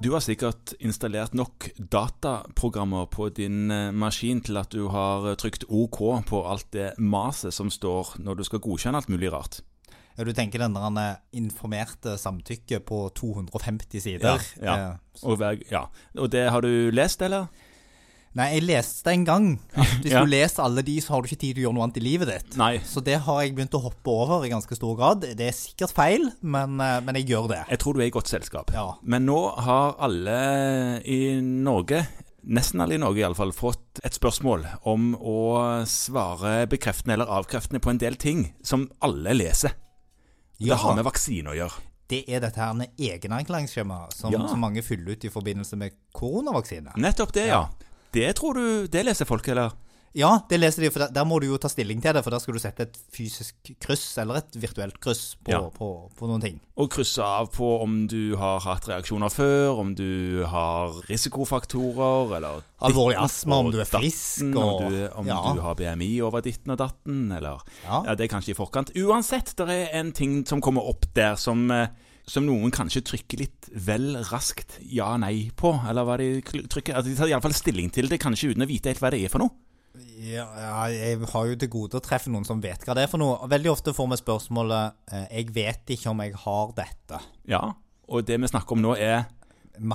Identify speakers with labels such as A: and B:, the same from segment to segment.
A: Du har sikkert installert nok dataprogrammer på din eh, maskin til at du har eh, trykt OK på alt det maset som står når du skal godkjenne alt mulig rart.
B: Ja, du tenker den der han, eh, informerte samtykke på 250
A: Ja,
B: sider.
A: ja.
B: Eh,
A: Og, hver, ja. og det har du lest, eller?
B: Nei, jeg leste en gang at hvis
A: Ja.
B: du leser alle de, så har du ikke tid til å gjøre noe annet i livet ditt.
A: Nei.
B: Så det har jeg begynt å hoppe over i ganske stor grad. Det er sikkert feil, men, eh, men jeg gjør det.
A: Jeg tror du er i godt selskap.
B: Ja.
A: Men nå har alle i Norge, nesten alle i Norge iallfall, fått et spørsmål om å svare bekreftende eller avkreftende på en del ting som alle leser.
B: Ja.
A: Det har med vaksine å gjøre.
B: Det er dette her med egenerklæringsskjemaet som,
A: Ja.
B: som mange fyller ut i forbindelse med koronavaksine.
A: Nettopp det, ja. Det tror du Det leser folk, eller?
B: Ja, det leser de, for der, der må du jo ta stilling til det, for der skal du sette et fysisk kryss, eller et virtuelt kryss, på,
A: Ja.
B: på, på noen ting.
A: Og krysse av på om du har hatt reaksjoner før, om du har risikofaktorer, eller
B: Alvorlig
A: ditten
B: astma, om
A: og
B: du er frisk,
A: datten,
B: og-
A: Om, du, om
B: ja.
A: du har BMI over ditten og datten, eller
B: Ja.
A: Ja, det er kanskje i forkant. Uansett, det er en ting som kommer opp der som, eh, som noen kanskje trykker litt vel raskt ja-nei på, eller hva de kl- trykker. Altså, de tar iallfall stilling til det, kanskje uten å vite helt hva det er for noe.
B: Ja, ja, jeg har jo til gode å treffe noen som vet hva det er for noe. Veldig ofte får vi spørsmålet eh, 'Jeg vet ikke om jeg har dette'.
A: Ja, og det vi snakker om nå er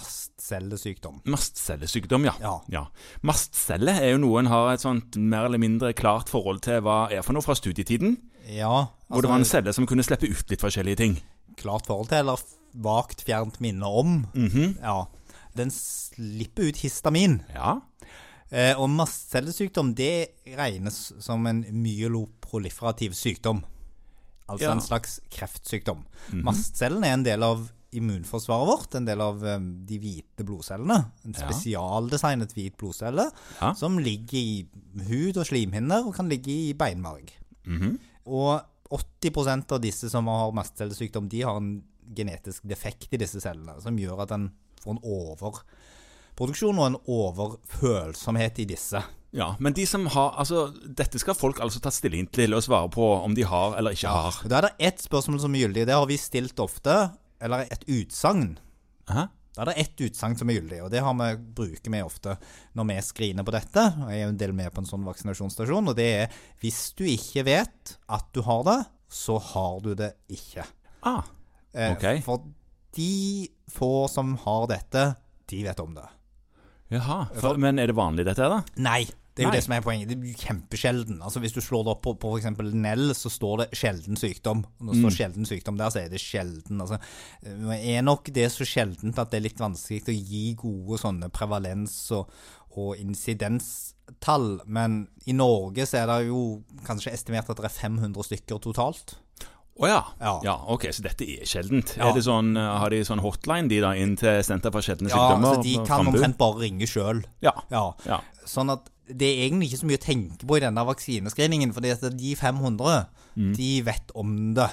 B: Mastcellesykdom.
A: mastcellesykdom, ja.
B: Ja.
A: Mastcelle er jo noe en har et sånt mer eller mindre klart forhold til hva er for noe fra studietiden,
B: Ja, altså,
A: hvor det var en celle som kunne slippe ut litt forskjellige ting.
B: klart forhold til, eller vagt fjernt minne om.
A: Mhm.
B: Ja. Den slipper ut histamin.
A: Ja,
B: Eh, og mastcellesykdom det regnes som en myeloproliferativ sykdom. Altså
A: Ja. Mhm.
B: en slags kreftsykdom. Mastcellen er en del av immunforsvaret vårt, en del av eh, de hvite blodcellene. En
A: Ja.
B: spesialdesignet hvit blodcelle
A: Ja.
B: som ligger i hud og slimhinner og kan ligge i beinmarg.
A: Mhm.
B: Og 80 av disse som har mastcellesykdom, de har en genetisk defekt i disse cellene, som gjør at en får en overproduksjon og en overfølsomhet i disse.
A: ja. Men de som har Altså, dette skal folk altså ta stilling til og svare på om de har eller ikke har.
B: Og Da er det ett spørsmål som er gyldig. Det har vi stilt ofte. Eller et utsagn.
A: Hæ?
B: Da er det ett utsagn som er gyldig, og det har vi, bruker vi ofte når vi screener på dette. og Jeg er jo en del med på en sånn vaksinasjonsstasjon, og det er hvis du ikke vet at du har det, så har du det ikke.
A: Ah,
B: Eh,
A: Ok.
B: For de få som har dette, de vet om det.
A: jaha. For, men er det vanlig dette her, da?
B: Nei. Det er jo
A: Nei.
B: det som er poenget. Det er jo kjempesjelden. Altså, hvis du slår det opp på, på f.eks. Nell, så står det 'sjelden sykdom'. Og Når det
A: Mm.
B: står 'sjelden sykdom' der, så er det sjelden. Altså, eh, er nok det så sjeldent at det er litt vanskelig å gi gode sånne prevalens- og, og insidenstall. Men i Norge så er det jo kanskje estimert at det er 500 stykker totalt.
A: Å ja.
B: Ja.
A: Ok, så dette er sjeldent.
B: Ja.
A: Er det sånn, eh, har de sånn hotline, de da, inn til Senter for sjeldne
B: Ja,
A: sykdommer?
B: altså, de
A: og
B: kan
A: frambud?
B: omtrent bare ringe sjøl.
A: Ja.
B: Ja.
A: Ja.
B: Sånn at det er egentlig ikke så mye å tenke på i denne vaksinescreeningen, fordi at de 500, de vet om det.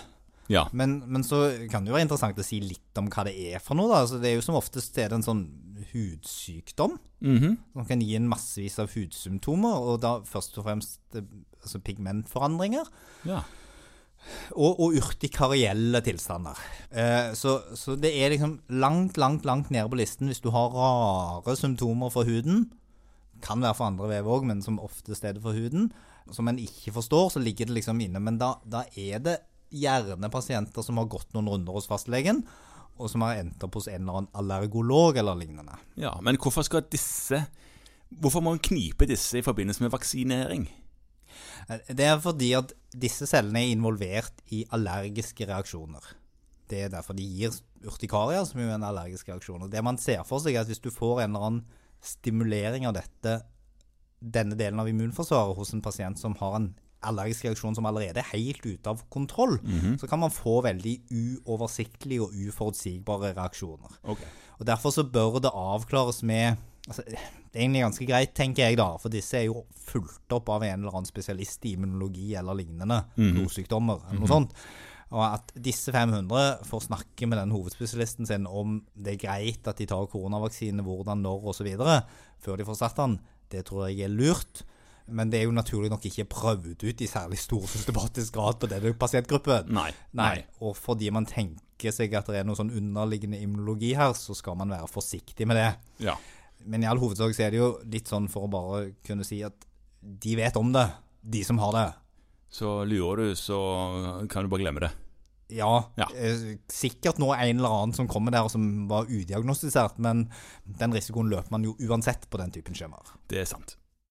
A: ja.
B: Men, men så kan det jo være interessant å si litt om hva det er for noe, da. Altså, det er jo som oftest er det en sånn hudsykdom, som kan gi en massevis av hudsymptomer, og da først og fremst eh, altså pigmentforandringer,
A: ja.
B: og, og urtikarielle tilstander. Eh, så, så det er liksom langt, langt, langt nede på listen hvis du har rare symptomer for huden. Kan være for andre vev òg, men som oftest er det for huden. Som en ikke forstår, så ligger det liksom inne. Men da, da er det gjerne pasienter som har gått noen runder hos fastlegen, og som har endt opp hos en eller annen allergolog eller lignende.
A: ja. Men hvorfor skal disse Hvorfor må en knipe disse i forbindelse med vaksinering?
B: Eh, Det er fordi at disse cellene er involvert i allergiske reaksjoner. Det er derfor de gir urtikaria, som jo er en allergisk reaksjon. Og det man ser for seg, er at hvis du får en eller annen stimulering av dette, denne delen av immunforsvaret hos en pasient som har en allergisk reaksjon som allerede er helt ute av kontroll, så kan man få veldig uoversiktlige og uforutsigbare reaksjoner.
A: Ok.
B: Og Derfor så bør det avklares med altså, Det er egentlig ganske greit, tenker jeg, da, for disse er jo fulgt opp av en eller annen spesialist i immunologi eller lignende,
A: Mhm.
B: blodsykdommer eller noe sånt. Og at disse 500 får snakke med den hovedspesialisten sin om det er greit at de tar koronavaksine, hvordan, når osv., før de får satt den, det tror jeg er lurt. Men det er jo naturlig nok ikke prøvd ut i særlig stor systematisk grad på denne pasientgruppen.
A: Nei.
B: Nei. Og fordi man tenker tenker seg at det er noe sånn underliggende immunologi her, så skal man være forsiktig med det.
A: Ja.
B: Men i all hovedsak så er det jo litt sånn for å bare kunne si at de vet om det, de som har det.
A: Så lurer du, så kan du bare glemme det.
B: Ja,
A: Ja.
B: eh, sikkert nå en eller annen som kommer der og som var udiagnostisert, men den risikoen løper man jo uansett på den typen skjemaer.
A: Det er sant.